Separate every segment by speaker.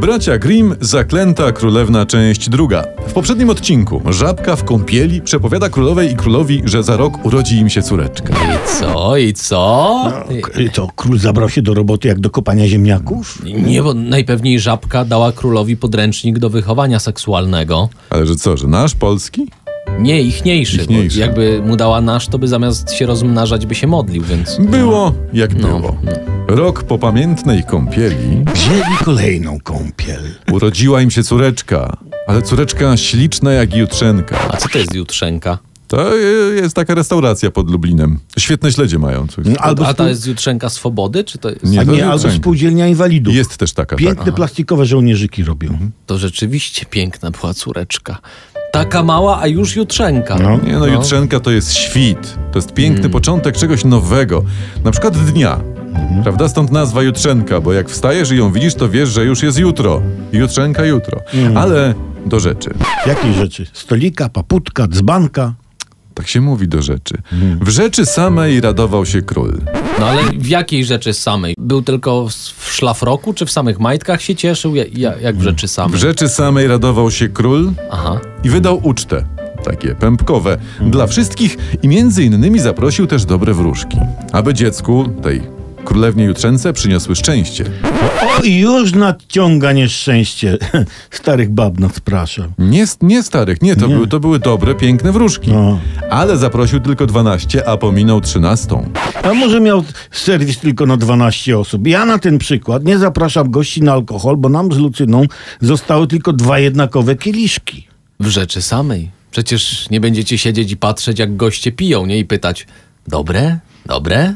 Speaker 1: Bracia Grimm, Zaklęta Królewna, część druga. W poprzednim odcinku żabka w kąpieli przepowiada królowej i królowi, że za rok urodzi im się córeczka.
Speaker 2: Co i co?
Speaker 3: K- y, To król zabrał się do roboty jak do kopania ziemniaków?
Speaker 2: Nie, bo najpewniej żabka dała królowi podręcznik do wychowania seksualnego.
Speaker 1: Ale że co, że nasz polski?
Speaker 2: Nie, ichniejszy. bo
Speaker 1: Ichniejszy.
Speaker 2: Jakby mu dała nasz, to by zamiast się rozmnażać, by się modlił, więc...
Speaker 1: Było jak
Speaker 3: No.
Speaker 1: było. Rok po pamiętnej kąpieli
Speaker 3: Wzięli kolejną kąpiel.
Speaker 1: urodziła im się córeczka, ale córeczka śliczna jak jutrzenka.
Speaker 2: A co to jest jutrzenka?
Speaker 1: To y, jest taka restauracja pod Lublinem. Świetne śledzie mają. coś.
Speaker 3: No, Albo
Speaker 2: A
Speaker 3: spół-
Speaker 2: to jest jutrzenka swobody, czy to jest...
Speaker 1: Nie.
Speaker 3: A
Speaker 1: to
Speaker 3: nie,
Speaker 1: jest
Speaker 3: albo
Speaker 1: piosenka.
Speaker 3: spółdzielnia inwalidów.
Speaker 1: Jest też taka. tak.
Speaker 3: Piękne
Speaker 1: taka.
Speaker 3: plastikowe żołnierzyki robią.
Speaker 2: To rzeczywiście piękna była córeczka. Taka mała, a już jutrzenka.
Speaker 3: No.
Speaker 1: Nie no, jutrzenka to jest świt. To jest piękny początek czegoś nowego. Na przykład dnia. Prawda? Stąd nazwa jutrzenka, bo jak wstajesz i ją widzisz, to wiesz, że już jest jutro. Jutrzenka jutro. Ale do rzeczy.
Speaker 3: Jakiej rzeczy? Stolika, paputka, dzbanka.
Speaker 1: Tak się mówi do rzeczy. W rzeczy samej radował się król.
Speaker 2: no ale w jakiej rzeczy samej? Był tylko w w szlafroku, czy w samych majtkach się cieszył? Ja, ja, jak w rzeczy
Speaker 1: W
Speaker 2: samej?
Speaker 1: rzeczy samej radował się król
Speaker 2: Aha.
Speaker 1: i wydał ucztę. Takie pępkowe dla wszystkich i między innymi zaprosił też dobre wróżki. Aby dziecku, tej królewnie jutrzence, przyniosły szczęście.
Speaker 3: O, i już nadciąga nieszczęście. Starych bab nadpraszam.
Speaker 1: Nie, nie starych, nie, to, Były, to były dobre, piękne wróżki.
Speaker 3: No.
Speaker 1: Ale zaprosił tylko 12, a pominął 13.
Speaker 3: A może miał serwis tylko na 12 osób? Ja na ten przykład nie zapraszam gości na alkohol, bo nam z Lucyną zostały tylko dwa jednakowe kieliszki.
Speaker 2: W rzeczy samej. Przecież nie będziecie siedzieć i patrzeć, jak goście piją, nie? I pytać, dobre? Dobre?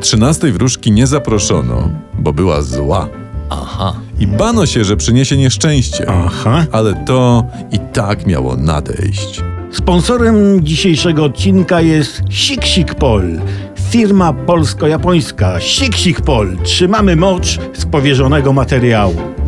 Speaker 1: 13 wróżki nie zaproszono, bo była zła.
Speaker 2: Aha.
Speaker 1: I bano się, że przyniesie nieszczęście.
Speaker 3: Aha.
Speaker 1: Ale to i tak miało nadejść.
Speaker 3: Sponsorem dzisiejszego odcinka jest Siksikpol, firma polsko-japońska Siksikpol. Trzymamy mocz z powierzonego materiału.